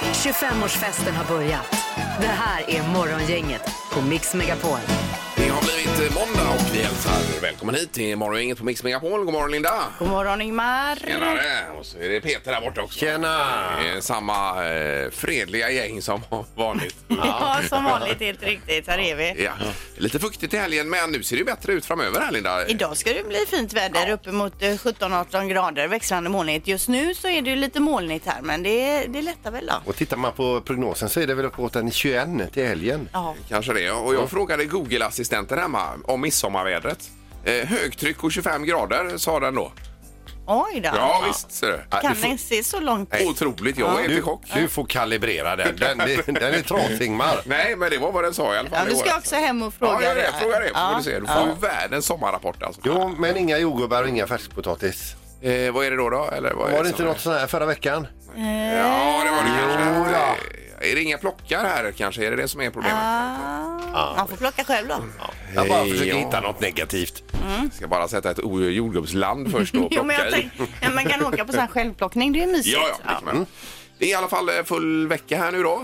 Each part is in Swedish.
25-årsfesten har börjat. Det här är Morgongänget på Mix Megapol. Det har blivit eh, måndag och vi hälsar välkommen hit till Morgongänget på Mix Megapol. God morgon Linda! God morgon Ingmar. Tjenare! Och så är det Peter där borta också. Tjena! Det är Samma eh, fredliga gäng som vanligt. Ja, som vanligt helt riktigt. Här är vi. Ja. Lite fuktigt i helgen men nu ser det ju bättre ut framöver här Linda. Idag ska det bli fint väder, uppemot eh, 17-18 grader, växlande molnighet. Just nu så är det ju lite molnigt här, men det, det lättar väl då. Och tittar man på prognosen så är det väl uppåt en 21 till helgen. Ja, Kanske det. Och jag frågade Google-assistenten hemma om midsommarvädret. Eh, högtryck och 25 grader sa den då. oj då. Ja, visst ser du. Ja, Kan du får- den se så långt? Nej. Otroligt, jag var inte Du, chock. du får kalibrera den. Den, den, den är trasig Ingmar. Nej, men det var vad den sa i alla fall. Ja, i du år. ska också hem och Ja, fråga gör det. här. Fråga det. Får Ja, du, se. du får ju ja. världens sommarrapport alltså. Jo, men inga jordgubbar och inga färskpotatis. Eh, vad är det då? då? Eller vad är Var det inte som- något sånt här förra veckan? Ja, det var det kanske. Eh, Är det inga plockar här kanske? Är det det som är problemet? Ah, man får plocka själv då. Jag bara Hej, försöker ja. hitta något negativt. Ska bara sätta ett o- jordgubbsland först och Jo, men plocka jag i. tänk, ja, man kan åka på sån här självplockning, det är mysigt. Ja, ja. det kan Mm. man. Det är i alla fall eh, full vecka här nu då.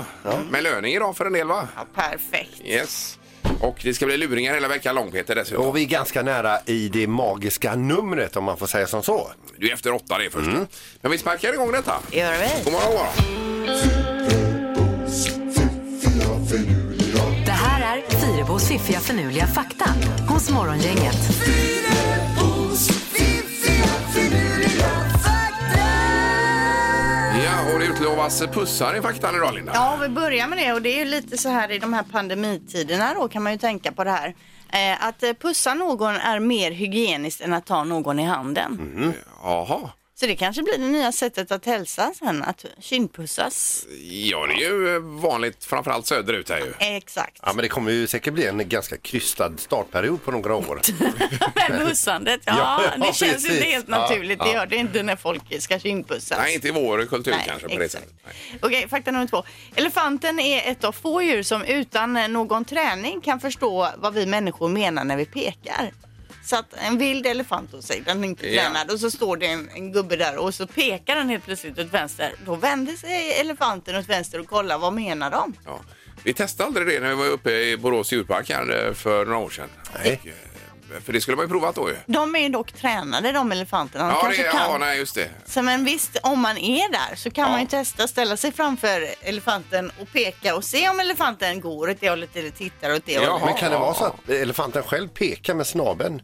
Med löning idag för en del va? Ja, perfekt. Yes. Och det ska bli luringar hela veckan lång Peter dessutom. Och vi är ganska nära i det magiska numret om man får säga som så. Du är efter åtta det först. Mm. Men vi sparkar igång detta. Det gör vi. God morgon, god morgon. Det här är Fyrebos fiffiga förnuliga fakta hos Morgongänget. Ja, och det utlovas pussar i faktan idag Linda. Ja, vi börjar med det och det är ju lite så här i de här pandemitiderna då kan man ju tänka på det här. Eh, att eh, pussa någon är mer hygieniskt än att ta någon i handen. Mhm. Jaha. Så det kanske blir det nya sättet att hälsa sen, att kindpussas. Ja, det är ju eh, vanligt framförallt söderut här ju. Exakt. Ja, men det kommer ju säkert bli en ganska krystad startperiod på några år. Men pussandet, ja, Ja, det ja, känns precis. inte helt Ja, naturligt. Det ja. gör det inte när folk ska kindpussas. Nej, inte i vår kultur Nej, kanske på det exakt. sättet. Okej, fakta nummer två. Elefanten är ett av få djur som utan eh, någon träning kan förstå vad vi människor menar när vi pekar. Så att en vild elefant då säger den är inte Ja. tränad och så står det en, en gubbe där och så pekar den helt plötsligt åt vänster. Då vänder sig elefanten åt vänster och kollar vad menar de? Ja. Vi testade aldrig det när vi var uppe i Borås djurpark här eh, för några år sedan. Nej. Och, eh, För det skulle man ju provat då ju. De är dock tränade de elefanterna. De Ja, det, kanske kan. ja nej, just det. Så men visst, om man är där så kan Ja. man ju testa ställa sig framför elefanten och peka och se om elefanten går åt det hållet eller tittar åt det Ja. hållet. Men kan det vara så att elefanten själv pekar med snabeln?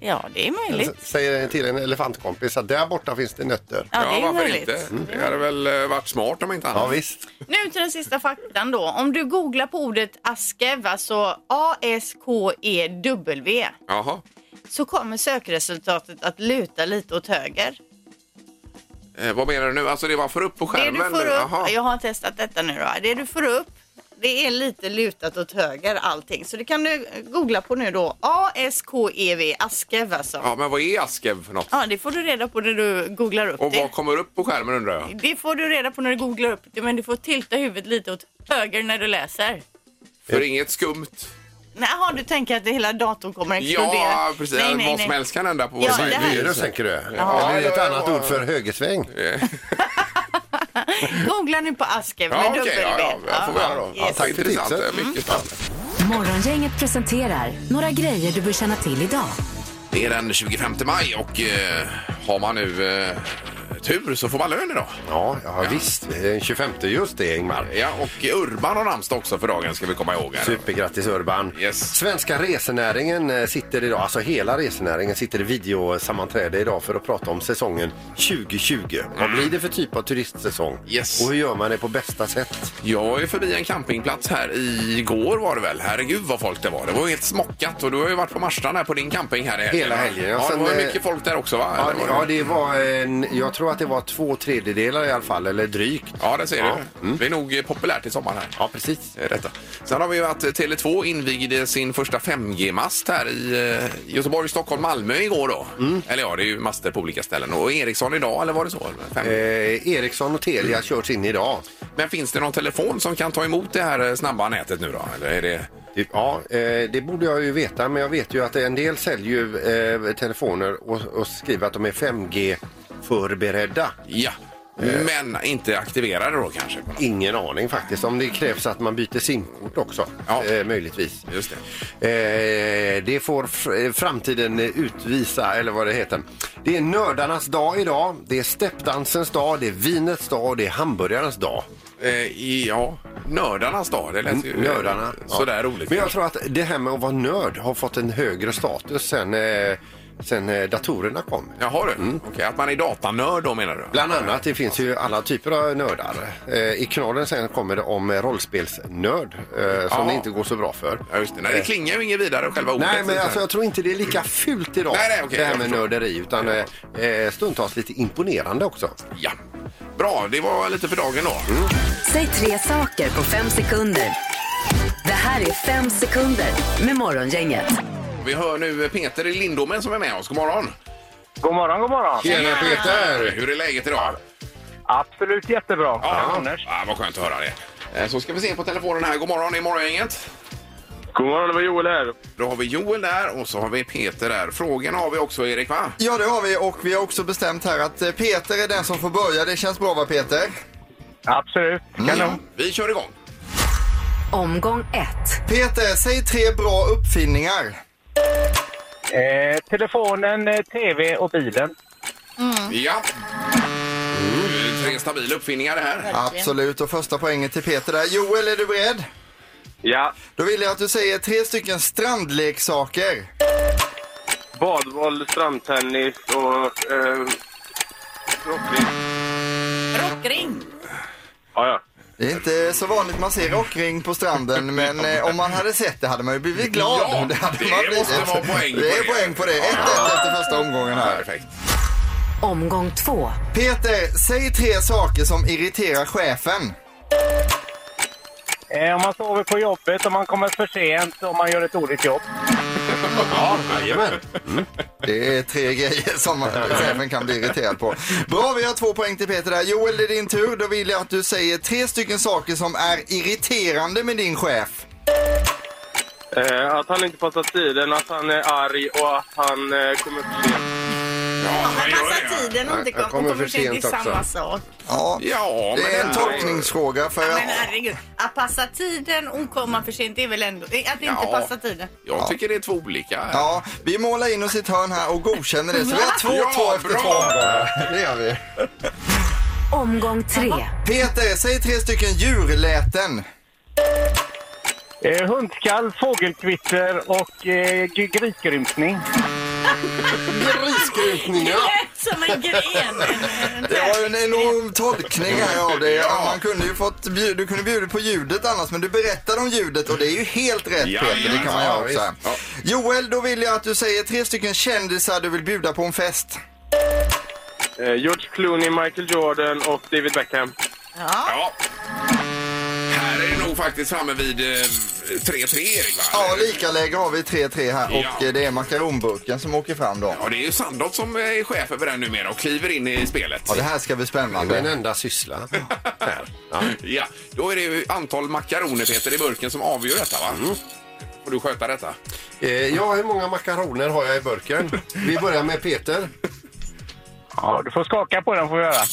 Ja, det är möjligt. Alltså, S- Säger till en elefantkompis att där borta finns det nötter. Ja, det är varför möjligt. Mm. inte? Det hade väl eh, varit smart om inte annat. Ja, visst. Nu till den sista faktan då. Om du googlar på ordet askew, alltså A-S-K-E-W, Jaha. E så kommer sökresultatet att luta lite åt höger. Eh, vad menar du nu? Alltså det var för upp på Det skärmen? du får nu? upp, Jaha. jag har testat detta nu då, det du får upp det är lite lutat åt höger allting. Så det kan du googla på nu då. E A-S-K-E-V, askew alltså. Ja. Ja, men vad är askew för något? det får du reda på när du googlar upp Och det. vad kommer upp på skärmen undrar jag? Det får du reda på när du googlar upp det, men du får tilta huvudet lite åt höger när du läser. För inget skumt? Nej, har du tänker att hela datorn kommer att explodera? Ja, precis. Nej, nej, vad som nej. helst kan hända på Ja, vår det sida. här- Virus tänker du? Ja, Eller ett ja, annat ja. ord för högersväng? Googla nu på Askew Ja, med okej. dubbel ja, ja, V. jag får vi göra då. Ja, yes. tack för Intressant. eh, tipset. Mycket spännande. Morgongänget presenterar några grejer du bör känna till idag. Det är den 25 maj och eh, har man nu eh, tur så får man lön idag. Ja, ja, visst. Den 25 just det, Ingmar. Ja, och Urban har namnsdag också för dagen ska vi komma ihåg. Här. Supergrattis Urban! Yes. Svenska resenäringen eh, sitter idag, alltså hela resenäringen sitter i videosammanträde idag för att prata om säsongen 2020. Vad blir det för typ av turistsäsong? Yes. Och hur gör man det på bästa sätt? Jag är förbi en campingplats här igår var det väl. Herregud vad folk det var. Det var ju helt smockat och du har ju varit på Marstrand här på din camping här i helgen. Hela helgen, ja. Ja, det Sen, var ju eh, mycket folk där också va? Ja, Eller det- var ja, det var en, jag tror att det var två tredjedelar i alla fall, eller drygt. ja, det ser Ja. Mm. du. Det är nog eh, populärt i sommar här. Ja, precis. Det är Detta. Eh, Sen har vi ju att eh, Tele2 invigde sin första 5G-mast här i eh, Göteborg, Stockholm, Malmö igår då. Mm. Eller ja, det är ju master på olika ställen. Och Ericsson idag, eller var det så? 5G. Eh, Ericsson och Telia körs in idag. Men finns det någon telefon som kan ta emot det här eh, snabba nätet nu då? Eller är det... Typ, Ja, eh, det borde jag ju veta, men jag vet ju att en del säljer ju eh, telefoner och, och skriver att de är 5G förberedda. Ja. Men inte aktiverade då kanske? på något- Ingen aning faktiskt. Om det krävs att man byter simkort också. Ja. Eh, möjligtvis. Just det. Eh, det får fr- eh, framtiden eh, utvisa, eller vad det heter. Det är nördarnas dag idag, det är steppdansens dag, det är vinets dag och det är hamburgarnas dag. Eh, i- ja, nördarnas dag. Det lät ju eh, Mm, Nördarna. sådär roligt. Men jag tror att det här med att vara nörd har fått en högre status sen, eh, sen eh, datorerna kom. Jaha du, Okej, att man är datanörd då menar du? Mm. Bland annat, det finns ju alla typer av nördar. Eh, I knallen sen kommer det om eh, rollspelsnörd, eh, som Ja. det inte går så bra för. Ja, just det. Nej, det klingar ju inget vidare själva ordet. Eh. Nej, men alltså, jag tror inte det är lika fult idag, Nej, nej, okej, det här jag med förstår. nörderi, utan eh, eh, stundtals lite imponerande också. Ja. Bra, det var lite för dagen då. Säg tre saker på fem sekunder. Det här är fem sekunder med Morgongänget. Vi hör nu Peter i Lindome som är med oss. God morgon! God morgon, god morgon. Tjena Peter! Hur är läget idag? Absolut jättebra. Anders. ja vad skönt att höra det. Eh, Så ska vi se på telefonen här. God morgon, i morgongänget. God morgon, det var Joel här. Då har vi Joel där och så har vi Peter där. Frågan har vi också, Erik, va? Ja, det har vi och vi har också bestämt här att eh, Peter är den som får börja. Det känns bra va Peter? Absolut. Ja, Mm. vi kör igång. Omgång ett. Peter, säg tre bra uppfinningar. Eh, telefonen, eh, tv och bilen. Ja. Eh, Tre stabila uppfinningar det här. Absolut, och första poängen till Peter där. Joel, är du beredd? Ja. Då vill jag att du säger tre stycken strandleksaker. Badboll, strandtennis och... Eh, rockring. Rockring. Ja, ja. Det är inte så vanligt man ser rockring på stranden, men eh, om man hade sett det hade man ju blivit glad. Ja, hade det måste vara poäng på det. är det. poäng på det. 1-1 efter första omgången här. Perfekt. Omgång två. Peter, säg tre saker som irriterar chefen. Eh, om man sover på jobbet, om man kommer för sent, om man gör ett dåligt jobb. Jajamän! Det är tre grejer som chefen kan bli irriterad på. Bra, vi har två poäng till Peter där. Joel, det är din tur. Då vill jag att du säger tre stycken saker som är irriterande med din chef. Eh, att han inte passar tiden, att han är arg och att han eh, kommer för sent. Ja, Han ja, ja. passar tiden och inte Jag kom, kommer kommer för för sent sent är samma också. sak. Ja, Ja, men det är en ändå. tolkningsfråga för Men att... herregud, att passa tiden och komma för sent är väl ändå... eh, Att inte Ja. passa tiden. Jag tycker det är två olika. Ja, vi målar in oss i ett hörn här och godkänner det. Så vi har Ja, 2-2 efter bra. två omgångar. Det gör vi. Omgång tre. Peter, säg tre stycken djurläten. Eh, hundskall, fågelkvitter och eh, g- grisgrympning. Det Grisgrytningar! lät som en gren. Det var ju en enorm tolkning här av det. Ja, man kunde ju fått bjud, du kunde bjudit på ljudet annars, men du berättade om ljudet och det är ju helt rätt Ja, Peter. Det ja, kan man ja, göra också. Joel, då vill jag att du säger tre stycken kändisar du vill bjuda på en fest. Eh, George Clooney, Michael Jordan och David Beckham. Ja. Här är det nog faktiskt framme vid eh, 3-3 Erik va? Ja, lika läge har vi 3-3 här och Ja. eh, det är makaronburken som åker fram då. Ja, det är ju Sandholt som är chef över den numera och kliver in i spelet. Ja, det här ska bli Det är en spännande. enda syssla. Ja, då är det ju antal makaroner Peter i burken som avgör detta va? Får du sköta detta? Eh, ja, hur många makaroner har jag i burken? Vi börjar med Peter. Ja, du får skaka på den får vi göra.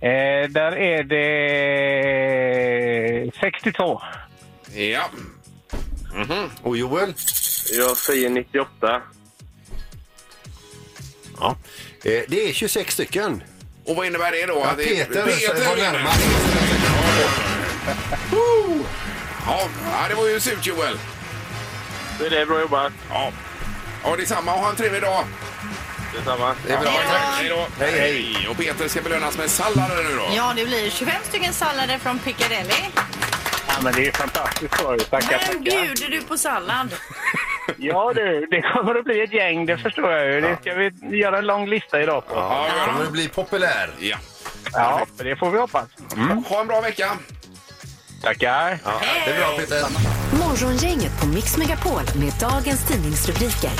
Eh, där är det 62. Ja. Och Joel? Jag säger 98. Ja. Eh, det är 26 stycken. Och vad innebär det då? Ja, Att det är- Peter, Peter var vinner. närmast. Woo! Ja, ja, det var ju surt Joel. Det är det, bra jobbat. Ja. Ja, detsamma och ha en trevlig dag. Detsamma. Det är bra. Hej då. Hej, hej. Och Peter ska belönas med sallad nu då. Ja, det blir 25 stycken sallader från Piccadilly. Ja, men det är fantastiskt skoj. Tackar, Men bjuder du på sallad? Ja du, det kommer att bli ett gäng, det förstår jag ju. Det ska vi göra en lång lista idag på. Ja, Ja, Ja, gör kommer det. att bli populär. ja. det får vi hoppas. Ha en bra vecka. Tackar. Det är bra Peter. Morgongänget på Mix Megapol med dagens tidningsrubriker.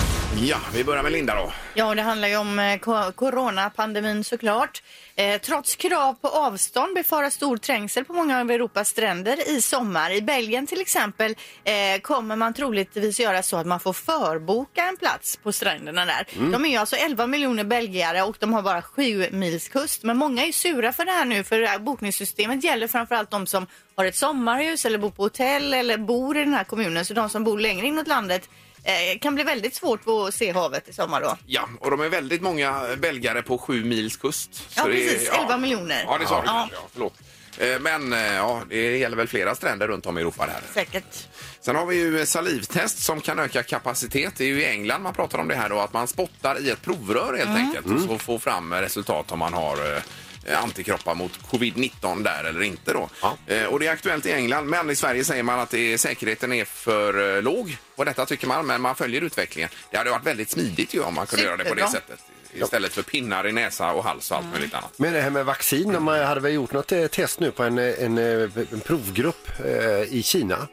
Ja, vi börjar med Linda då. Ja, det handlar ju om eh, ko- coronapandemin såklart. Eh, trots krav på avstånd befaras stor trängsel på många av Europas stränder i sommar. I Belgien till exempel eh, kommer man troligtvis göra så att man får förboka en plats på stränderna där. De är ju alltså 11 miljoner belgiare och de har bara 7 mils kust. Men många är ju sura för det här nu för det här bokningssystemet gäller framförallt de som har ett sommarhus eller bor på hotell eller bor i den här kommunen. Så de som bor längre inåt landet eh, kan bli väldigt svårt att se havet i sommar då. Ja, och de är väldigt många belgare på sju mils kust. Ja, Så det är- precis. 11 miljoner. Ja, det sa du Ja. kanske, ja. Förlåt. Eh, Men eh, ja, det gäller väl flera stränder runt om i Europa. Där. Säkert. Sen har vi ju salivtest som kan öka kapacitet. Det är ju i England man pratar om det här då, att man spottar i ett provrör helt enkelt och så får fram resultat om man har eh, antikroppar mot covid-19 där eller inte då. Ja. Eh, Och det är aktuellt i England, men i Sverige säger man att det, säkerheten är för eh, låg. Och detta tycker man, men man följer utvecklingen. Det hade varit väldigt smidigt ju om man kunde göra det på det Superbra. sättet. Istället för pinnar i näsa och hals och allt möjligt annat. Men det här med vaccin, man hade väl gjort något eh, test nu på en, eh, en, eh, en provgrupp eh, i Kina.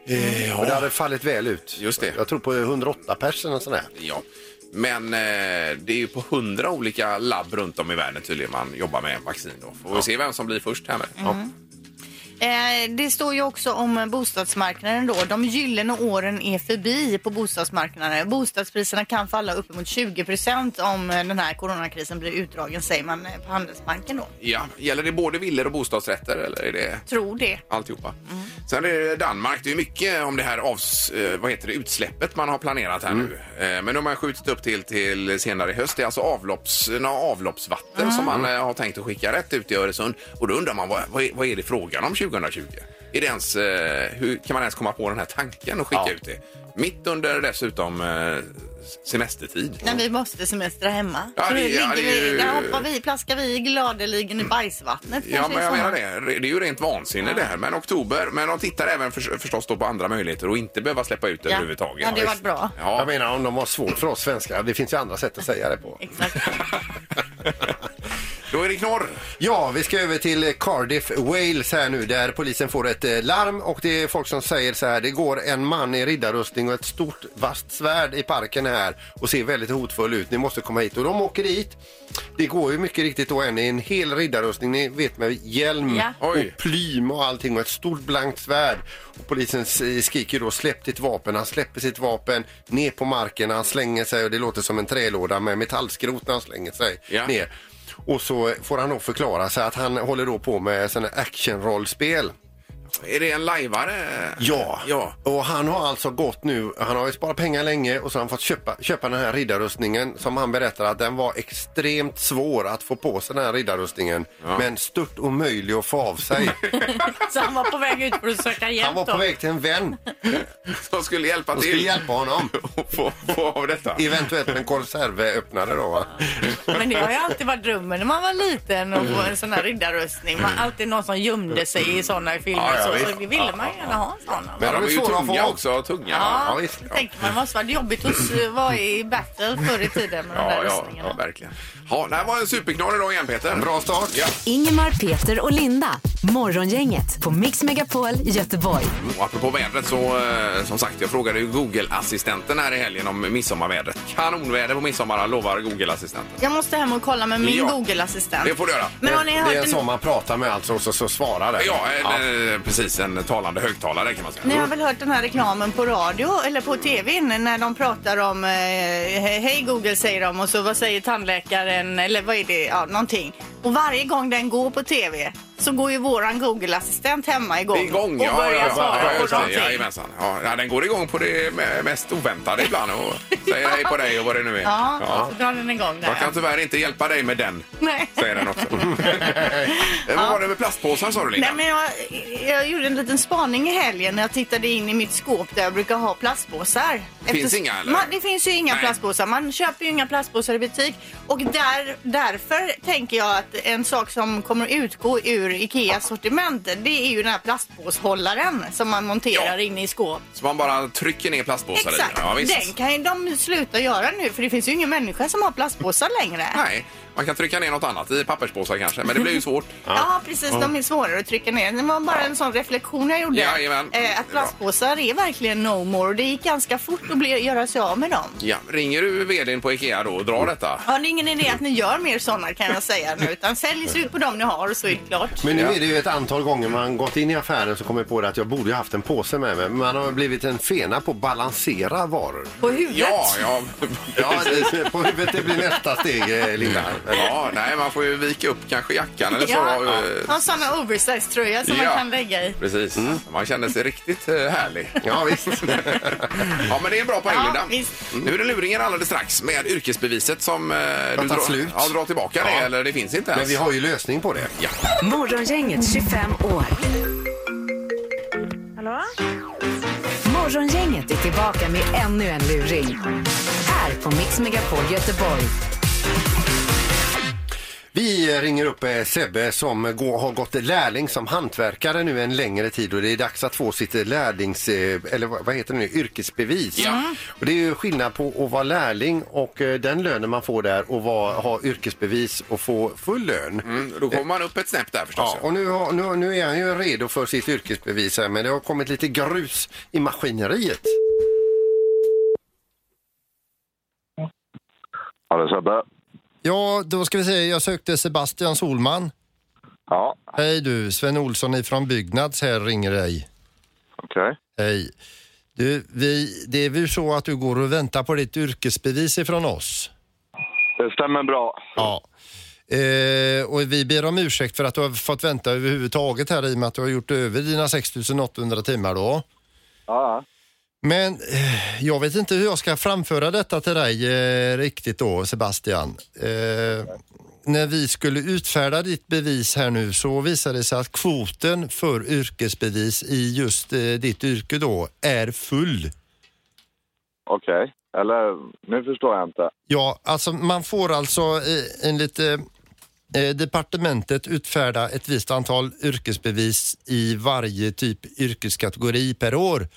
Och det hade fallit väl ut. Just det. Jag tror på 108 personer och sådär. Ja. Men eh, det är ju på hundra olika labb runt om i världen tydligen man jobbar med vaccin då. Får vi se vem som blir först här med. Eh, det står ju också om bostadsmarknaden då. De gyllene åren är förbi på bostadsmarknaden. Bostadspriserna kan falla uppemot 20 procent om eh, den här coronakrisen blir utdragen, säger man eh, på Handelsbanken då. Ja, gäller det både villor och bostadsrätter eller är det Tror det. alltihopa? Sen är det Danmark. Det är mycket om det här avs, eh, vad heter det, utsläppet man har planerat här nu. Eh, Men de har man skjutit upp till, till senare i höst. Det är alltså avlopps, några avloppsvatten som man eh, har tänkt att skicka rätt ut i Öresund. Och då undrar man vad, vad, är, vad är det frågan om 2020? Är det ens, eh, hur kan man ens komma på den här tanken och skicka Ja. ut det? Mitt under dessutom eh, semestertid. När vi måste semestra hemma. Ja, Så det- ja, ligger det är vi- ju- Där hoppar vi, plaskar vi gladeligen i bajsvattnet. Ja, kanske i men jag menar sommar. det. Det är ju rent vansinne det här. Men oktober. Men de tittar även för, förstås då på andra möjligheter och inte behöva släppa ut överhuvudtaget. Ja, det Ja, var visst. bra. Jag Ja. menar om de har svårt för oss svenskar, det finns ju andra sätt att säga det på. Exakt. Då är det knorr. Ja, vi ska över till Cardiff, Wales här nu där polisen får ett eh, larm och det är folk som säger så här. Det går en man i riddarrustning och ett stort vasst svärd i parken här och ser väldigt hotfull ut. Ni måste komma hit och de åker dit. Det går ju mycket riktigt då en i en hel riddarrustning, ni vet med hjälm Ja. Oj. och plym och allting och ett stort blankt svärd. Och polisen eh, skriker då släpp ditt vapen. Han släpper sitt vapen ner på marken. Han slänger sig och det låter som en trälåda med metallskrot när han slänger sig Ja. ner. Och så får han då förklara sig att han håller då på med sådana actionrollspel. Är det en lajvare? Ja. Ja. och han har alltså gått nu, han har ju sparat pengar länge och så har han fått köpa, köpa den här riddarrustningen som han berättar att den var extremt svår att få på sig den här riddarrustningen. Men stört omöjlig att få av sig. Så han var på väg ut för att söka hjälp Han var på då. väg till en vän Som skulle hjälpa och skulle till hjälpa honom. och få, få av detta. Eventuellt med en konservöppnare då va? Men det har ju alltid varit drömmen när man var liten och få en sån här riddarrustning. Man alltid någon som gömde sig i såna filmer Ja, ja, och så. visst. Så det ville man gärna ha en sån. Men Ja, de är ju svåra att få tunga av. också. Tunga. Ja, ja, visst. jag tänker man det måste varit jobbigt att s- vara i battle förr i tiden med de Ja, där ja, rustningarna. ja, verkligen. Ja, det här var en superknorr idag igen, Peter. Bra start. Ja. Ingemar, Peter och Linda. Morgongänget på Mix Megapol Göteborg. Och apropå vädret så, eh, som sagt, jag frågade ju Google-assistenten här i helgen om midsommarvädret. Kanonväder på midsommar, lovar Google-assistenten. Jag måste hem och kolla med min Ja. Google-assistent. Det får du göra. Men har ni Det är hört en en... sån man pratar med alltså och så, så svarar den. Ja, en, eh, precis. En talande högtalare kan man säga. Ni har väl hört den här reklamen på radio eller på tv när de pratar om eh, Hej Google säger de och så vad säger tandläkaren eller vad är det, ja någonting. Och varje gång den går på tv så går ju våran Google-assistent hemma igång, Igång, och ja. börjar ja, svara ja, just på det. någonting. Jajamensan. Ja, ja, den går igång på det me- mest oväntade ibland och säger hej på dig och vad det nu är. Ja, Ja. så drar den igång där. Jag kan tyvärr inte hjälpa dig med den, Nej. säger den också. Eh, Vad var det med plastpåsar sa du Linda? Nej, men jag, jag gjorde en liten spaning i helgen när jag tittade in i mitt skåp där jag brukar ha plastpåsar. Finns inga, eller? Man, det finns ju inga Nej. plastpåsar. Man köper ju inga plastpåsar i butik. Och där, därför tänker jag att en sak som kommer utgå ur Ikeas sortiment det är ju den här plastpåshållaren som man monterar Ja. in i skåp. Så man bara trycker ner plastpåsar i Exakt. den? Ja, den visst. kan ju de sluta göra nu för det finns ju ingen människa som har plastpåsar längre. Nej, man kan trycka ner något annat i papperspåsar kanske, men det blir ju svårt. Ja, precis. De är svårare att trycka ner. Det var bara en sån reflektion jag gjorde. Jajamän. eh, att plastpåsar är verkligen no more. Det gick ganska fort att bli, göra sig av med dem. Ja, ringer du vdn på Ikea då och drar detta? Ja, det är ingen idé att ni gör mer såna kan jag säga nu. Utan sälj slut på dem ni har och så är det klart. Men nu är det ju ett antal gånger man gått in i affären så kommer på det att jag borde ju haft en påse med mig. Men man har blivit en fena på att balansera varor. På huvudet. Ja, ja. Ja, det, på huvudet det blir nästa steg, eh, Linda. ja, nej, man får ju vika upp kanske jackan eller så. Ja. eh, Ha såna oversize-tröja som Ja. man kan lägga i. Precis. Man känner sig riktigt eh, härlig. Ja, visst. ja, men det är en bra poäng, Ja, Linda. Mm. visst. Nu är det luringen alldeles strax med yrkesbeviset som eh, du tagit drar- slut. Ja, drar tillbaka det, eller det finns inte ens. Men vi har ju lösning på det. Ja. Morgongänget 25 år. Hallå? Morgongänget är tillbaka med ännu en luring. Här på Mix Megapol Göteborg. Vi ringer upp eh, Sebbe som gå- har gått lärling som hantverkare nu en längre tid och det är dags att få sitt lärlings, eh, eller vad vad heter det nu, yrkesbevis. Ja. Mm. Och det är ju skillnad på att vara lärling och eh, den lönen man får där och vara, ha yrkesbevis och få full lön. Mm, Då kommer man upp ett snäpp där förstås. Ja, och nu, har, nu, nu är han ju redo för sitt yrkesbevis här men det har kommit lite grus i maskineriet. Ja, det är Sebbe. Ja, då ska vi se. Jag sökte Sebastian Solman. Ja, Hej du, Sven Olsson ifrån Byggnads här ringer dig. okej. Hej. Du, vi, det är väl så att du går och väntar på ditt yrkesbevis ifrån oss? Det stämmer bra. Ja. Eh, och vi ber om ursäkt för att du har fått vänta överhuvudtaget här i och med att du har gjort över dina 6800 timmar då. Ja, Men eh, jag vet inte hur jag ska framföra detta till dig eh, riktigt då, Sebastian. Eh, när vi skulle utfärda ditt bevis här nu så visade det sig att kvoten för yrkesbevis i just eh, ditt yrke då är full. okej. Eller, nu förstår jag inte. Ja, alltså man får alltså eh, enligt eh, eh, departementet utfärda ett visst antal yrkesbevis i varje typ yrkeskategori per år.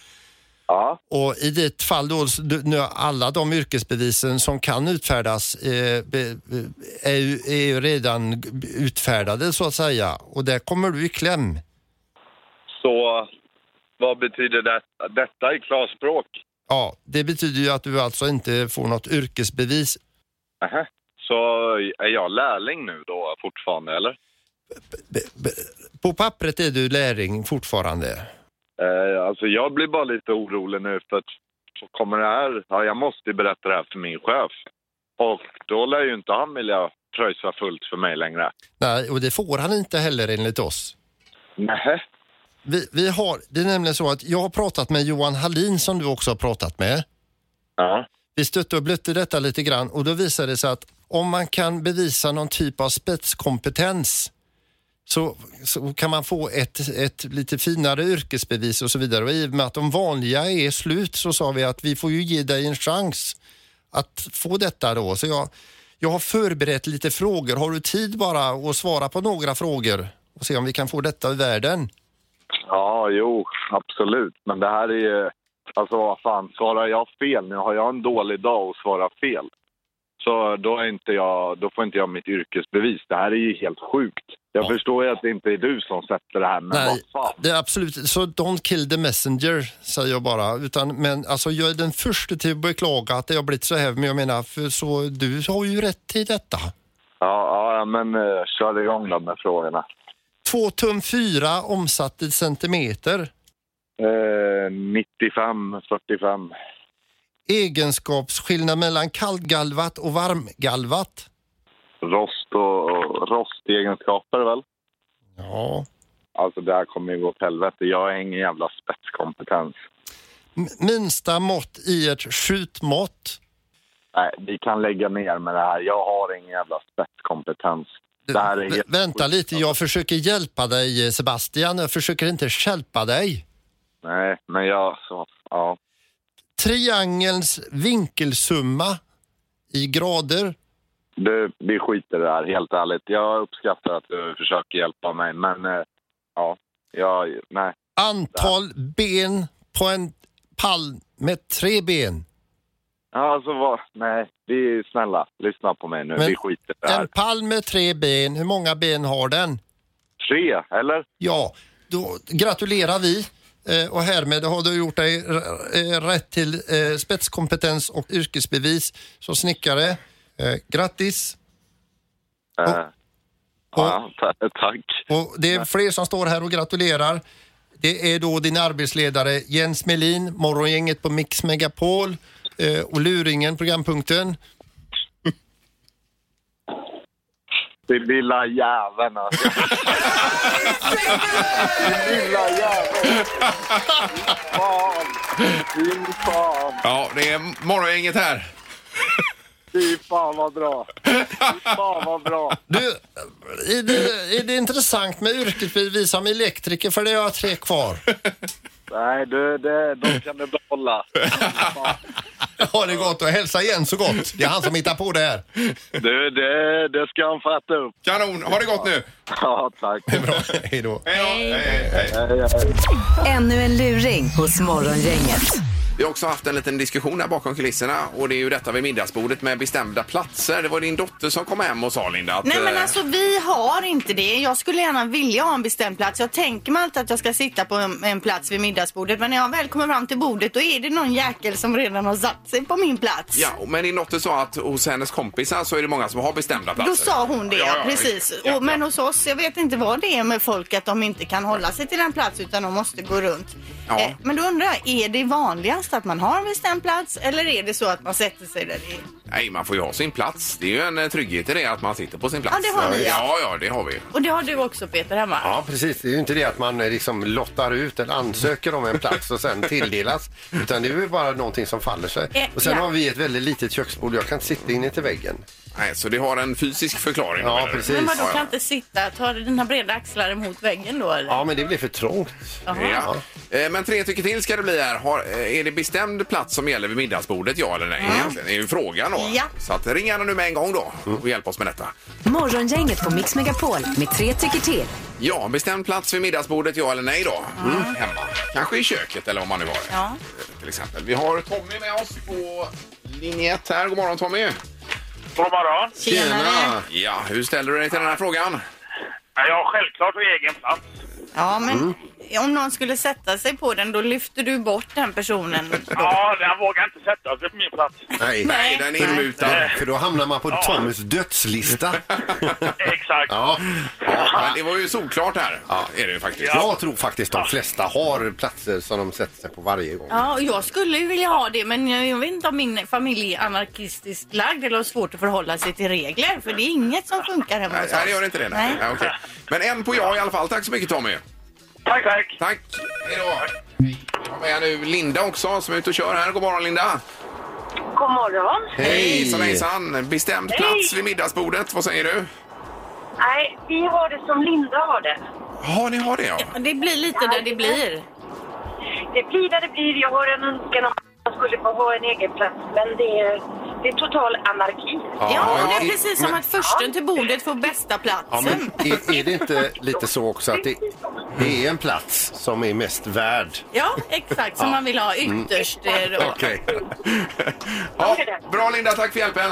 Ja, Och i ditt fall då, så du- nu alla de yrkesbevisen som kan utfärdas eh, be- be- är, ju, är ju redan g- utfärdade så att säga. Och där kommer du i kläm. Så vad betyder det, detta i klarspråk? Ja, det betyder ju att du alltså inte får något yrkesbevis. Nähä. Så är jag lärling nu då fortfarande, eller? B- b- På pappret är du lärling fortfarande. Eh, alltså, jag blir bara lite orolig nu för att så kommer det här... Ja, jag måste ju berätta det här för min chef. Och då lär ju inte han vilja pröjsa fullt för mig längre. Nej, och det får han inte heller enligt oss. Nähä. Vi, vi har, det är nämligen så att jag har pratat med Johan Hallin som du också har pratat med. Ja. Vi stötte och blötte detta lite grann och då visade det sig att om man kan bevisa någon typ av spetskompetens så, så kan man få ett, ett lite finare yrkesbevis och så vidare. Och i och med att de vanliga är slut så sa vi att vi får ju ge dig en chans att få detta då. Så jag, jag har förberett lite frågor. Har du tid bara att svara på några frågor och se om vi kan få detta i världen? Ja, jo, absolut. Men det här är ju... Alltså, vad fan, svarar jag fel nu? Har jag en dålig dag och svarar fel? Så då, är inte jag, då får inte jag mitt yrkesbevis. Det här är ju helt sjukt. Jag förstår ju att det inte är du som sätter det här, men Nej, vad fan. det är absolut så don't kill the messenger säger jag bara. Utan, men alltså, jag är den första till att beklaga att det har blivit så här. Men jag menar, för, så, du har ju rätt i detta. Ja, ja men uh, kör igång då med frågorna. Två tum fyra omsatt i centimeter. Eh, 95, 45. Egenskapsskillnad mellan kallgalvat och varmgalvat. Rost och, och rostegenskaper väl? Ja. Alltså det här kommer ju gå åt helvete. Jag har ingen jävla spetskompetens. M- minsta mått i ett skjutmått. Nej, vi kan lägga ner med det här. Jag har ingen jävla spetskompetens. Det här är alltså. Vä- helt Vänta sjukt, lite, jag försöker hjälpa dig eh, Sebastian. Jag försöker inte stjälpa dig. Nej, men jag... Så, ja. triangelns vinkelsumma i grader. Du, vi skiter i det här, helt ärligt. Jag uppskattar att du försöker hjälpa mig, men... eh, Ja, jag... Nej. Antal ben på en pall med tre ben. Ja, Alltså, vad... Nej, vi... Snälla, lyssna på mig nu. Men- vi skiter i det här. En pall med tre ben, hur många ben har den? tre, eller? Ja, då gratulerar vi eh, och härmed har du gjort dig r- eh, rätt till eh, spetskompetens och yrkesbevis som snickare. Eh, Grattis! Eh, ja, ta- tack. Och det är fler som står här och gratulerar. Det är då din arbetsledare Jens Melin, Morgongänget på Mix Megapol eh, och Luringen, programpunkten. Det lilla jäveln alltså. Det lilla jäveln. Fan. Fy fan. Ja, det är morgongänget här. Fy fan vad bra. Fy fan vad bra. Du, är det, är det intressant med yrkesbevis som elektriker? För det har jag tre kvar. Nej, du, det, de kan du behålla. Ha det gott och hälsa Jens så gott. Det är han som hittar på det här. Du, det, det ska han fatta upp. Kanon, ha det gott nu! Ja, tack. Bra, hej då. Hej, då. hej, hej. Hej, hej. Ännu en luring hos Morgongänget. Vi har också haft en liten diskussion här bakom kulisserna och det är ju detta vid middagsbordet med bestämda platser. Det var din dotter som kom hem och sa Linda att... Nej men eh, alltså vi har inte det. Jag skulle gärna vilja ha en bestämd plats. Jag tänker mig alltid att jag ska sitta på en, en plats vid middagsbordet. Men när jag väl kommer fram till bordet då är det någon jäkel som redan har satt sig på min plats. Ja, men din dotter sa att hos hennes kompisar så är det många som har bestämda platser. Då sa hon det, Alltså, Ja, ja, precis. ja, och, men ja. hos oss, jag vet inte vad det är med folk att de inte kan hålla sig till en plats utan de måste gå runt. Ja. Eh, men då undrar jag, är det vanligast att man har en bestämd plats eller är det så att man sätter sig där det är? Nej, man får ju ha sin plats. Det är ju en eh, trygghet i det att man sitter på sin plats. Ja, det har ni, ja. Ja, ja, det har vi. Och det har du också Peter hemma? Ja, precis. Det är ju inte det att man eh, liksom lottar ut eller ansöker om en plats och sen tilldelas. Utan det är ju bara någonting som faller sig. Eh, Och sen ja. har vi ett väldigt litet köksbord. Jag kan inte sitta in till väggen. Nej, så det har en fysisk förklaring. Ja, menar du? precis. Men vadå, Ja, ja. kan inte sitta? Tar du dina breda axlar emot väggen då eller? Ja, men det blir för trångt. Ja. Eh, Men tre tycker till ska det bli här. Har, eh, är det bestämd plats som gäller vid middagsbordet, ja eller nej? Egentligen är ju frågan då. Ja. Så att ring gärna nu med en gång då och hjälp oss med detta. Morgongänget på Mix Megapol med tre tycker till. Ja, bestämd plats vid middagsbordet, ja eller nej då? Mm, Hemma. Kanske i köket eller om man nu har det. Ja. Eh, Till exempel. Vi har Tommy med oss på linje 1 här. God morgon Tommy! God morgon. Tjena! Ja, hur ställer du dig till den här frågan? Jag har självklart egen plats. Ja, men Mm. om någon skulle sätta sig på den, då lyfter du bort den personen. Ja, den vågar inte sätta sig på min plats. Nej. Nej, den är inmutad. För då hamnar man på Tommys dödslista. Exakt. Ja, Ja, men det var ju solklart här. Är det ju faktiskt. jag tror faktiskt de flesta har platser som de sätter sig på varje gång. Ja, och jag skulle ju vilja ha det, men jag jag vet inte om min familj är anarkistiskt lagd eller har svårt att förhålla sig till regler, för det är inget som funkar hemma Nej, hos nej, det oss. gör inte det. Nej. Nej. Nej, okej. Men en på ja i alla fall. Tack så mycket Tommy. Tack, tack. Tack. Hej då. Vi har med nu Linda också som är ute och kör här. God morgon Linda. God morgon. Hejsan hejsan. Bestämd plats vid middagsbordet. Vad säger du? Nej, vi har det som Linda har det. Ja, ni har det ja. Men Det blir lite där det blir. Det blir där det blir. Jag har en önskan om att man skulle få ha en egen plats, men det är, det är total anarki. Ja, och det är i- precis som men- att försten till bordet får bästa Ja, men platsen. är, är det inte lite så också att det, det är en plats som är mest värd? Ja, exakt som man vill ha ytterst eh, då. Okej. ja. Bra Linda, tack för hjälpen.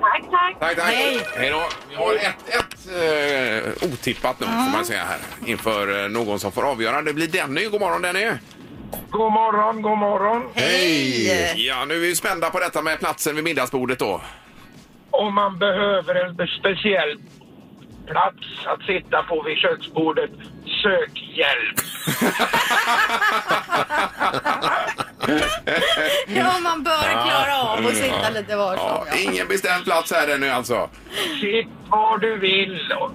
Tack, tack. Tack, tack. Hej. Hej då. Vi har ett, ett eh, otippat nu får man säga här inför eh, någon som får avgöra. Det blir Denny. God morgon Denny. God morgon, god morgon. Hej! Ja, nu är vi spända på detta med platsen vid middagsbordet då. Om man behöver en speciell plats att sitta på vid köksbordet, sök hjälp. Ja, man bör klara av att sitta lite var som. Ja, Ja. ingen bestämd plats här ännu alltså. Sitt var du vill. och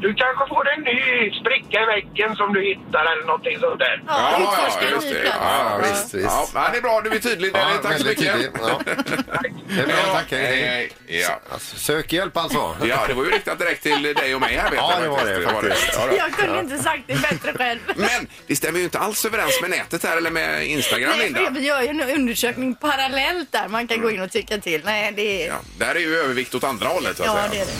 Du kanske får en ny spricka i väggen som du hittar eller någonting sånt där. Ja, ja, ja, utforska en just ny det. plats. Ja, visst, visst. Ja, nej, det är bra. Du är tydlig Denny. Ja, tack så väldigt mycket. tydlig. Ja. Det är bra, Hej då. tack. Hej, hej. Ja. Alltså, sök hjälp alltså. Ja, det var ju riktat direkt till dig och mig här. Vet Ja, jag det var faktiskt. det, faktiskt. Ja, då. Jag kunde inte sagt det bättre själv. Men det stämmer ju inte alls överens med nätet här eller med Instagram, Nej, för Linda. vi gör ju en undersökning parallellt där man kan gå in och tycka till. Nej, det är... Ja, där är ju övervikt åt andra hållet. så att Ja, säga. det är det.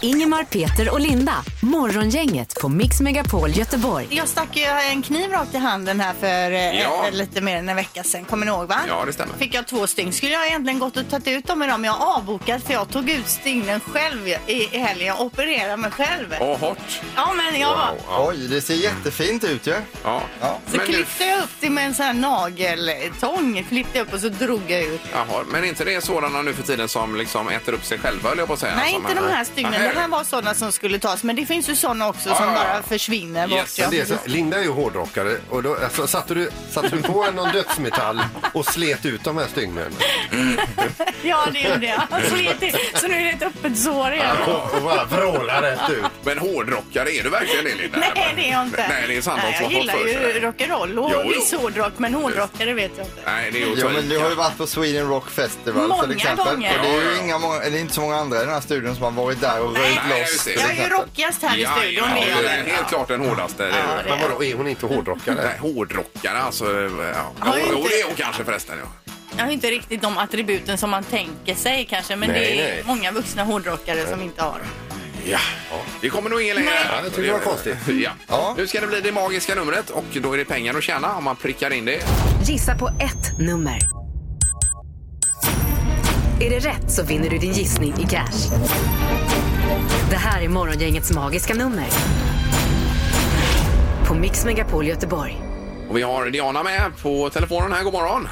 Ingemar, Peter och Linda. Morgongänget på Mix Megapol Göteborg. Jag stack ju en kniv rakt i handen här för eh, Ja. eh, lite mer än en vecka sedan. Kommer ni ihåg va? Ja, det stämmer. Fick jag två stygn. Skulle jag egentligen gått och tagit ut dem idag men jag har avbokat för jag tog ut stygnen själv i, i helgen. Jag opererade mig själv. Och hårt. Ja men jag Wow, ja. Oj, det ser jättefint ut ju. Ja. Ja. Så Men, du, klippte jag upp det med en sån här nageltång. Klippte jag upp och så drog jag ut. jaha, men inte det är sådana nu för tiden som liksom äter upp sig själva höll jag på att säga. Nej, Som inte en- de här stygnen. Nej. Det här var sådana som skulle tas. Men det finns ju sådana också som Ja, ja, ja. bara försvinner bort. Yes. ja. Men det är så, Linda är ju hårdrockare och då alltså, satte, du, satte du på en någon dödsmetall och slet ut de här stygnen. ja, det gjorde jag. Så, är det, så nu är det ett öppet sår igen. Och, och bara vrålar rätt ut. Men hårdrockare, är du verkligen det Linda? Nej, det är jag inte. Nej, det är Sandholt Nej, som Jag har fått gillar för sig ju det. rock'n'roll Jo, och jo. viss hårdrock, men hårdrockare vet jag inte. Nej, det är ju Jo, att ta men i. du har ju varit på Sweden Rock Festival Många till exempel. gånger. Och det är Ja, ju ja. inga, många, eller inte så många andra i den här studion som har varit där och Nej. röjt Nej, loss. just det. till Jag är ju exempel. rockigast här i studion. ja, det är jag du är väl. helt klart den hårdaste. Det är Ja, du. det är Men vadå, är hon inte hårdrockare? Nej, hårdrockare alltså. Ja. Har ju Jo, inte- det är hon kanske förresten. Ja. Jag har inte riktigt de attributen som man tänker sig kanske, men Nej, det är nej. många vuxna hårdrockare som inte har. Ja. Vi kommer nog ingen längre. Nej. Ja, jag tycker det var konstigt. Ja. Ja. Nu ska det bli det magiska numret och då är det pengar att tjäna om man prickar in det. Gissa på ett nummer. Är det rätt så vinner du din gissning i cash. Det här är Morgongängets magiska nummer. På Mix Megapol Göteborg. Och vi har Diana med på telefonen här. God morgon!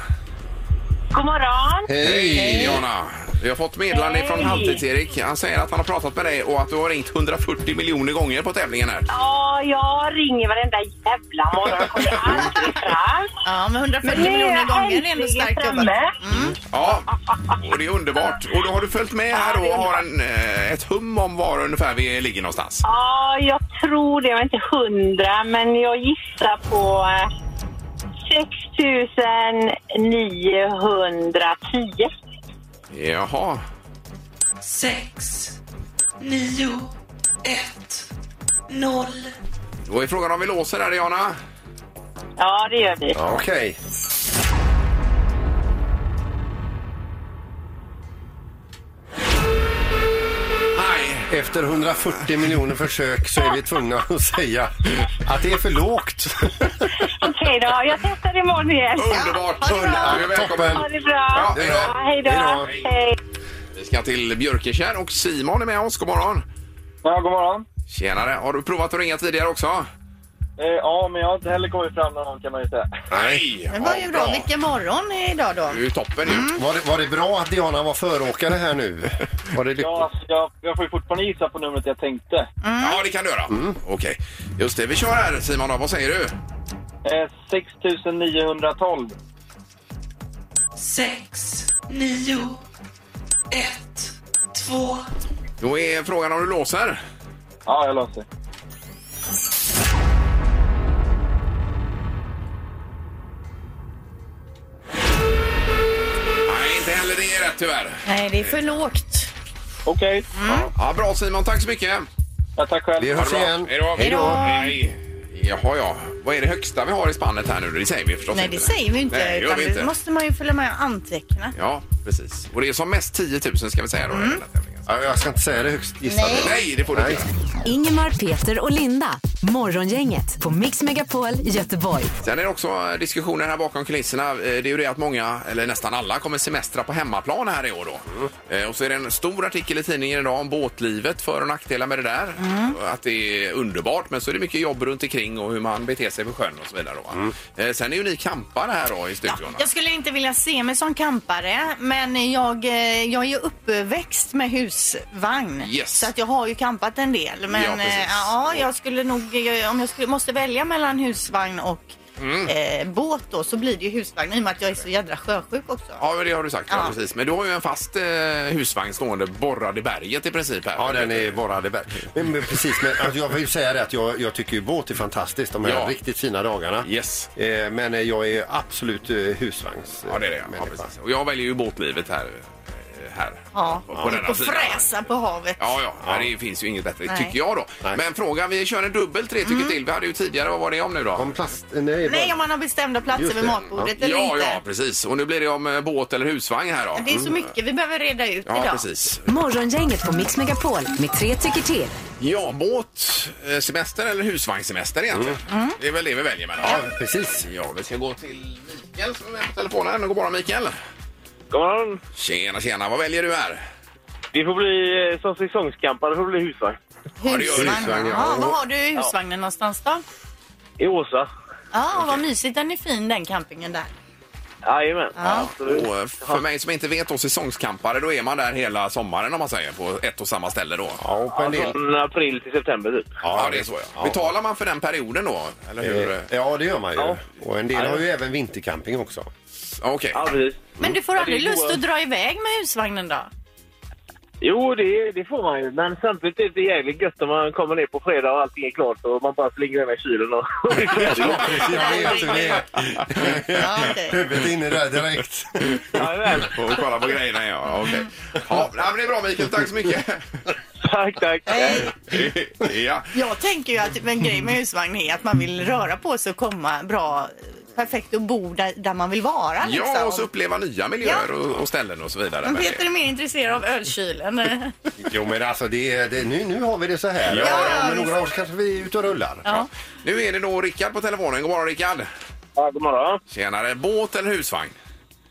God morgon! Hej Diana! Vi har fått meddelande från Hej. Halvtids-Erik. Han säger att han har pratat med dig och att du har ringt 140 miljoner gånger på tävlingen här. Ja, jag ringer varenda jävla morgon och kommer aldrig fram. Ja, men 140 nu är jag miljoner gånger är ändå äntligen starkt jobbat. Mm. framme. Ja, och det är underbart. Och då har du följt med här och har en, eh, ett hum om var ungefär vi ligger någonstans. Ja, jag tror det. Jag är inte hundra, men jag gissar på eh, 6910. Jaha. Sex, nio, ett, noll. Då är frågan om vi låser där, Diana. Ja, det gör vi. Ja, Okej. Nej. Efter 140 miljoner försök så är vi tvungna att säga att det är för lågt. Okej då, jag testar imorgon igen. Underbart! Ja, ha det bra. Du är välkommen. Toppen. Ha det bra. Ja, hej då. Ja, hej då. Hej då. Hej. Vi ska till Björkekär och Simon är med oss. God morgon! Ja, god morgon. Tjenare! Har du provat att ringa tidigare också? Eh, ja, men jag har inte heller kommit fram någon gång kan man ju säga. Nej! Det var ju bra. Vilken morgon är idag då? Det är ju toppen ju. Var det, var det bra att Diana var föråkare här nu? Var det lyckligt? Ja, alltså, jag, jag får ju fortfarande gissa på numret jag tänkte. Ja, det kan du göra. Okej. Just det, vi kör här Simon då. Vad säger du? Eh, 6912. Då är frågan om du låser. Ja, jag löser. Nej, inte heller det är rätt tyvärr. Nej, det är för lågt. Okej. Ja, bra Simon, tack så mycket. Ja, tack själv. Vi hörs igen. Hej då. Hej då. Hej. Jaha, ja. Vad är det högsta vi har i spannet här nu? Det säger vi förstås Nej, inte. det säger vi inte. Nej, det gör utan vi Det inte. måste man ju följa med och anteckna. Ja, precis. Och det är som mest 10 000 ska vi säga då. i den här tävlingen. Mm. Ja, Jag ska inte säga det högst gissade. Nej, det får du inte Nej. göra. Ingemar, Peter och Linda. Morgongänget på Mix Megapol Göteborg. Sen är det också diskussioner här bakom kulisserna. Eh, Det är ju det att många, eller nästan alla, kommer semestra på hemmaplan här i år då. Eh, Och så är det en stor artikel i tidningen idag om båtlivet, för och nackdelar med det där. Mm. Att det är underbart, men så är det mycket jobb runt omkring och hur man beter sig på sjön och så vidare. Då. va? Eh, Sen är ju ni kampare här då i studion. va? Jag skulle inte vilja se mig som kampare, men jag, eh, jag är ju uppväxt med husvagn. Yes. Så att jag har ju kampat en del. Men Ja, precis. eh, ja, jag skulle nog, eh, om jag skulle, måste välja mellan husvagn och Mm. eh, båt då, så blir det ju husvagn i och med att jag är så jädra sjösjuk också. Ja, men det har du sagt. Ja. Ja. precis. Men du har ju en fast eh, husvagn stående borrad i berget i princip. Här. Ja, den är bara det bästa. Men, men precis, men alltså, jag vill ju säga det att jag, jag tycker ju båt är fantastiskt de här Ja. riktigt fina dagarna. Yes. Eh, men eh, jag är absolut eh, husvagns... eh, Ja, det är det. Ja, människa. precis. Och jag väljer ju båtlivet här. eh, här. Ja, på denna på sidan. fräsa på havet. Ja, ja, ja. Det finns ju inget bättre, Nej. Mm. tycker jag då. Nej. Men frågan, vi kör en dubbel tre tycker till. Vi hade ju tidigare, vad var det om nu då? Om plast... Nej, Nej, om man har bestämda platser Just vid det. matbordet eller ja, inte. ja, precis. Och nu blir det om eh, båt eller husvagn här då. Mm. Det är så mycket vi behöver reda ut Ja, idag. precis. Morgongänget på Mix Megapol med tre tycker till. Ja, båt, eh, semester eller husvagnssemester egentligen. Mm. Det är väl det vi väljer mellan. Mm. Ja, precis. Ja, vi ska gå till Mikael som är med på telefonen. God morgon Mikael. God morgon. Tjena, tjena. Vad väljer du här? Vi får bli eh, som säsongskampare, får bli husvagn. Ja, det gör du. Husvagn. Ja, vad har du i husvagnen någonstans då? I Åsa. Ja, vad mysigt. Den är fin den campingen där. Jajamän. Absolut. Och eh, för mig som inte vet då, säsongskampare, då är man där hela sommaren om man säger, på ett och samma ställe då. Ja, och på en del... Från april till september typ. det är så ja. Betalar man för den perioden då? Eller hur? Eh, Ja, det gör man ju. Ja. Och en del har ju även vintercamping också. Ja, Okej. Ja, precis. Men du får Ja, det är aldrig lust goa- att dra iväg med husvagnen då? Jo, det, det får man ju. Men samtidigt är det jävligt gött när man kommer ner på fredag och allting är klart och man bara slänger den här kylen och... Jag vet hur det är. Ja, okej. Huvudet inne där direkt. Jajamän. Och kolla på grejerna ja. Okej. Ja, nej, men det är bra Mikael. Tack så mycket. Tack, tack. Nej, ja. Eh, Jag tänker ju att en grej med husvagn är att man vill röra på sig och komma bra, perfekt och bo där, där man vill vara. Liksom. ja, och så uppleva nya miljöer och, och ställen och så vidare. Men Men Peter är mer intresserad av ölkylen. Jo, men alltså det, är- det, nu, nu har vi det så här. Ja, ja, Om visst. några år kanske vi är ute och rullar. Ja. Nu är det då Rickard på telefonen. God morgon Rickard. Ja, god morgon. Tjenare. Båt eller husvagn?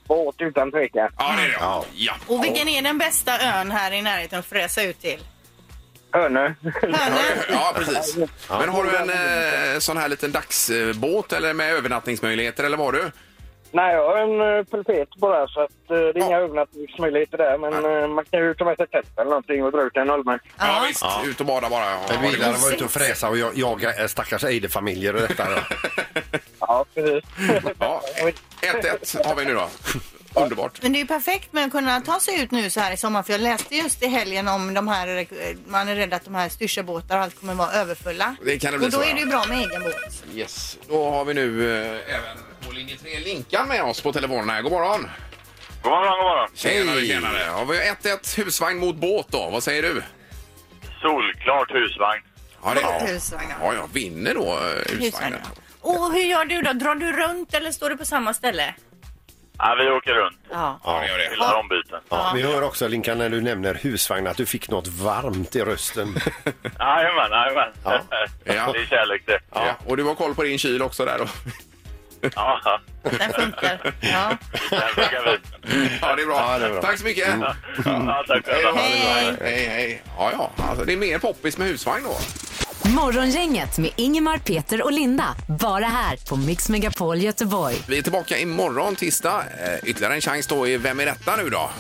Båt utan tvekan. Ja, det är det. Ja. ja. Och vilken är den bästa ön här i närheten att fräsa ut till? Hönö. Hönö? Ja, precis. Men har du en eh, sån här liten dagsbåt eller med övernattningsmöjligheter eller vad har du? Nej, jag har en eh, pulpet bara så att eh, det är inga övernattningsmöjligheter där. Men eh, man kan ju ta med sig tält eller någonting och dra ut en ölmärk. Ja, visst. Ut och bada bara. Ja, det Men vi gillar att vara ute och fräsa och jag- jaga eh, stackars Eidefamiljer och detta. då. Ja, precis. Ja, 1-1 har vi nu då. Underbart. Men det är ju perfekt med att kunna ta sig ut nu så här i sommar för jag läste just i helgen om de här, eh, man är rädd att de här styrselbåtar och allt kommer vara överfulla. Det kan det bli och då så, är ja. det ju bra med egen båt. Yes. Då har vi nu eh, även på linje 3 Linkan med oss på telefonen här. God morgon! God morgon, god morgon. Tjenare, tjenare! Ja, vi har 1-1 husvagn mot båt då. Vad säger du? Solklart husvagn. Ja, Husvagn, ja. ja, jag vinner då eh, husvagnen. Husvagnen. Och hur gör du då? Drar du runt eller står du på samma ställe? Ja, vi åker runt Ja. Ja, det gör det. till ombyten. Ja. Vi hör också Linkan när du nämner husvagn att du fick något varmt i rösten. Jajamän, jajamän. Ja. Ja. Det är kärlek det. Ja, och du har koll på din kyl också där då? Ja, ja. Den funkar. Ja. den funkar fint. Ja, det är bra. Ja, det är bra. Mm. Tack så mycket! Ja, tack Hej, då. själva. Hej. hej, hej! Ja, ja, alltså det är mer poppis med husvagn då. Morgongänget med Ingemar, Peter och Linda. Bara här på Mix Megapol Göteborg. Vi är tillbaka imorgon tisdag. Eh, Ytterligare en chans då är Vem är detta nu då?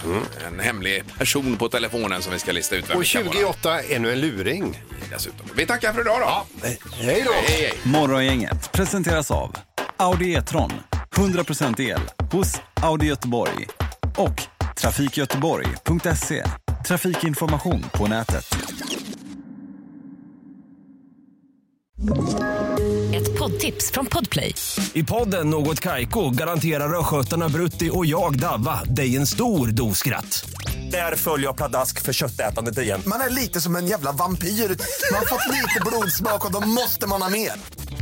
En hemlig person på telefonen som vi ska lista ut vem Mm. Och det kan vara 28, ännu en luring. dessutom. Vi tackar för idag då! Hej då! Hej, hej. Morgongänget presenteras av Audi E-tron. 100% el hos Audi Göteborg. Och trafikgöteborg.se. Trafikinformation på nätet. Ett poddtips från Podplay. I podden Något Kaiko garanterar östgötarna Brutti och jag, Davva, dig en stor dos skratt. Där följer jag pladask för köttätandet igen. Man är lite som en jävla vampyr. Man har fått lite blodsmak och då måste man ha mer.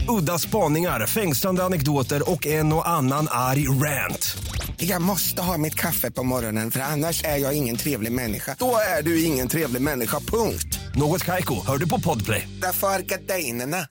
Udda spaningar, fängslande anekdoter och en och annan arg rant. Jag måste ha mitt kaffe på morgonen för annars är jag ingen trevlig människa. Då är du ingen trevlig människa, punkt. Något Kaiko, hör du på Podplay. Därför arkadeinerna.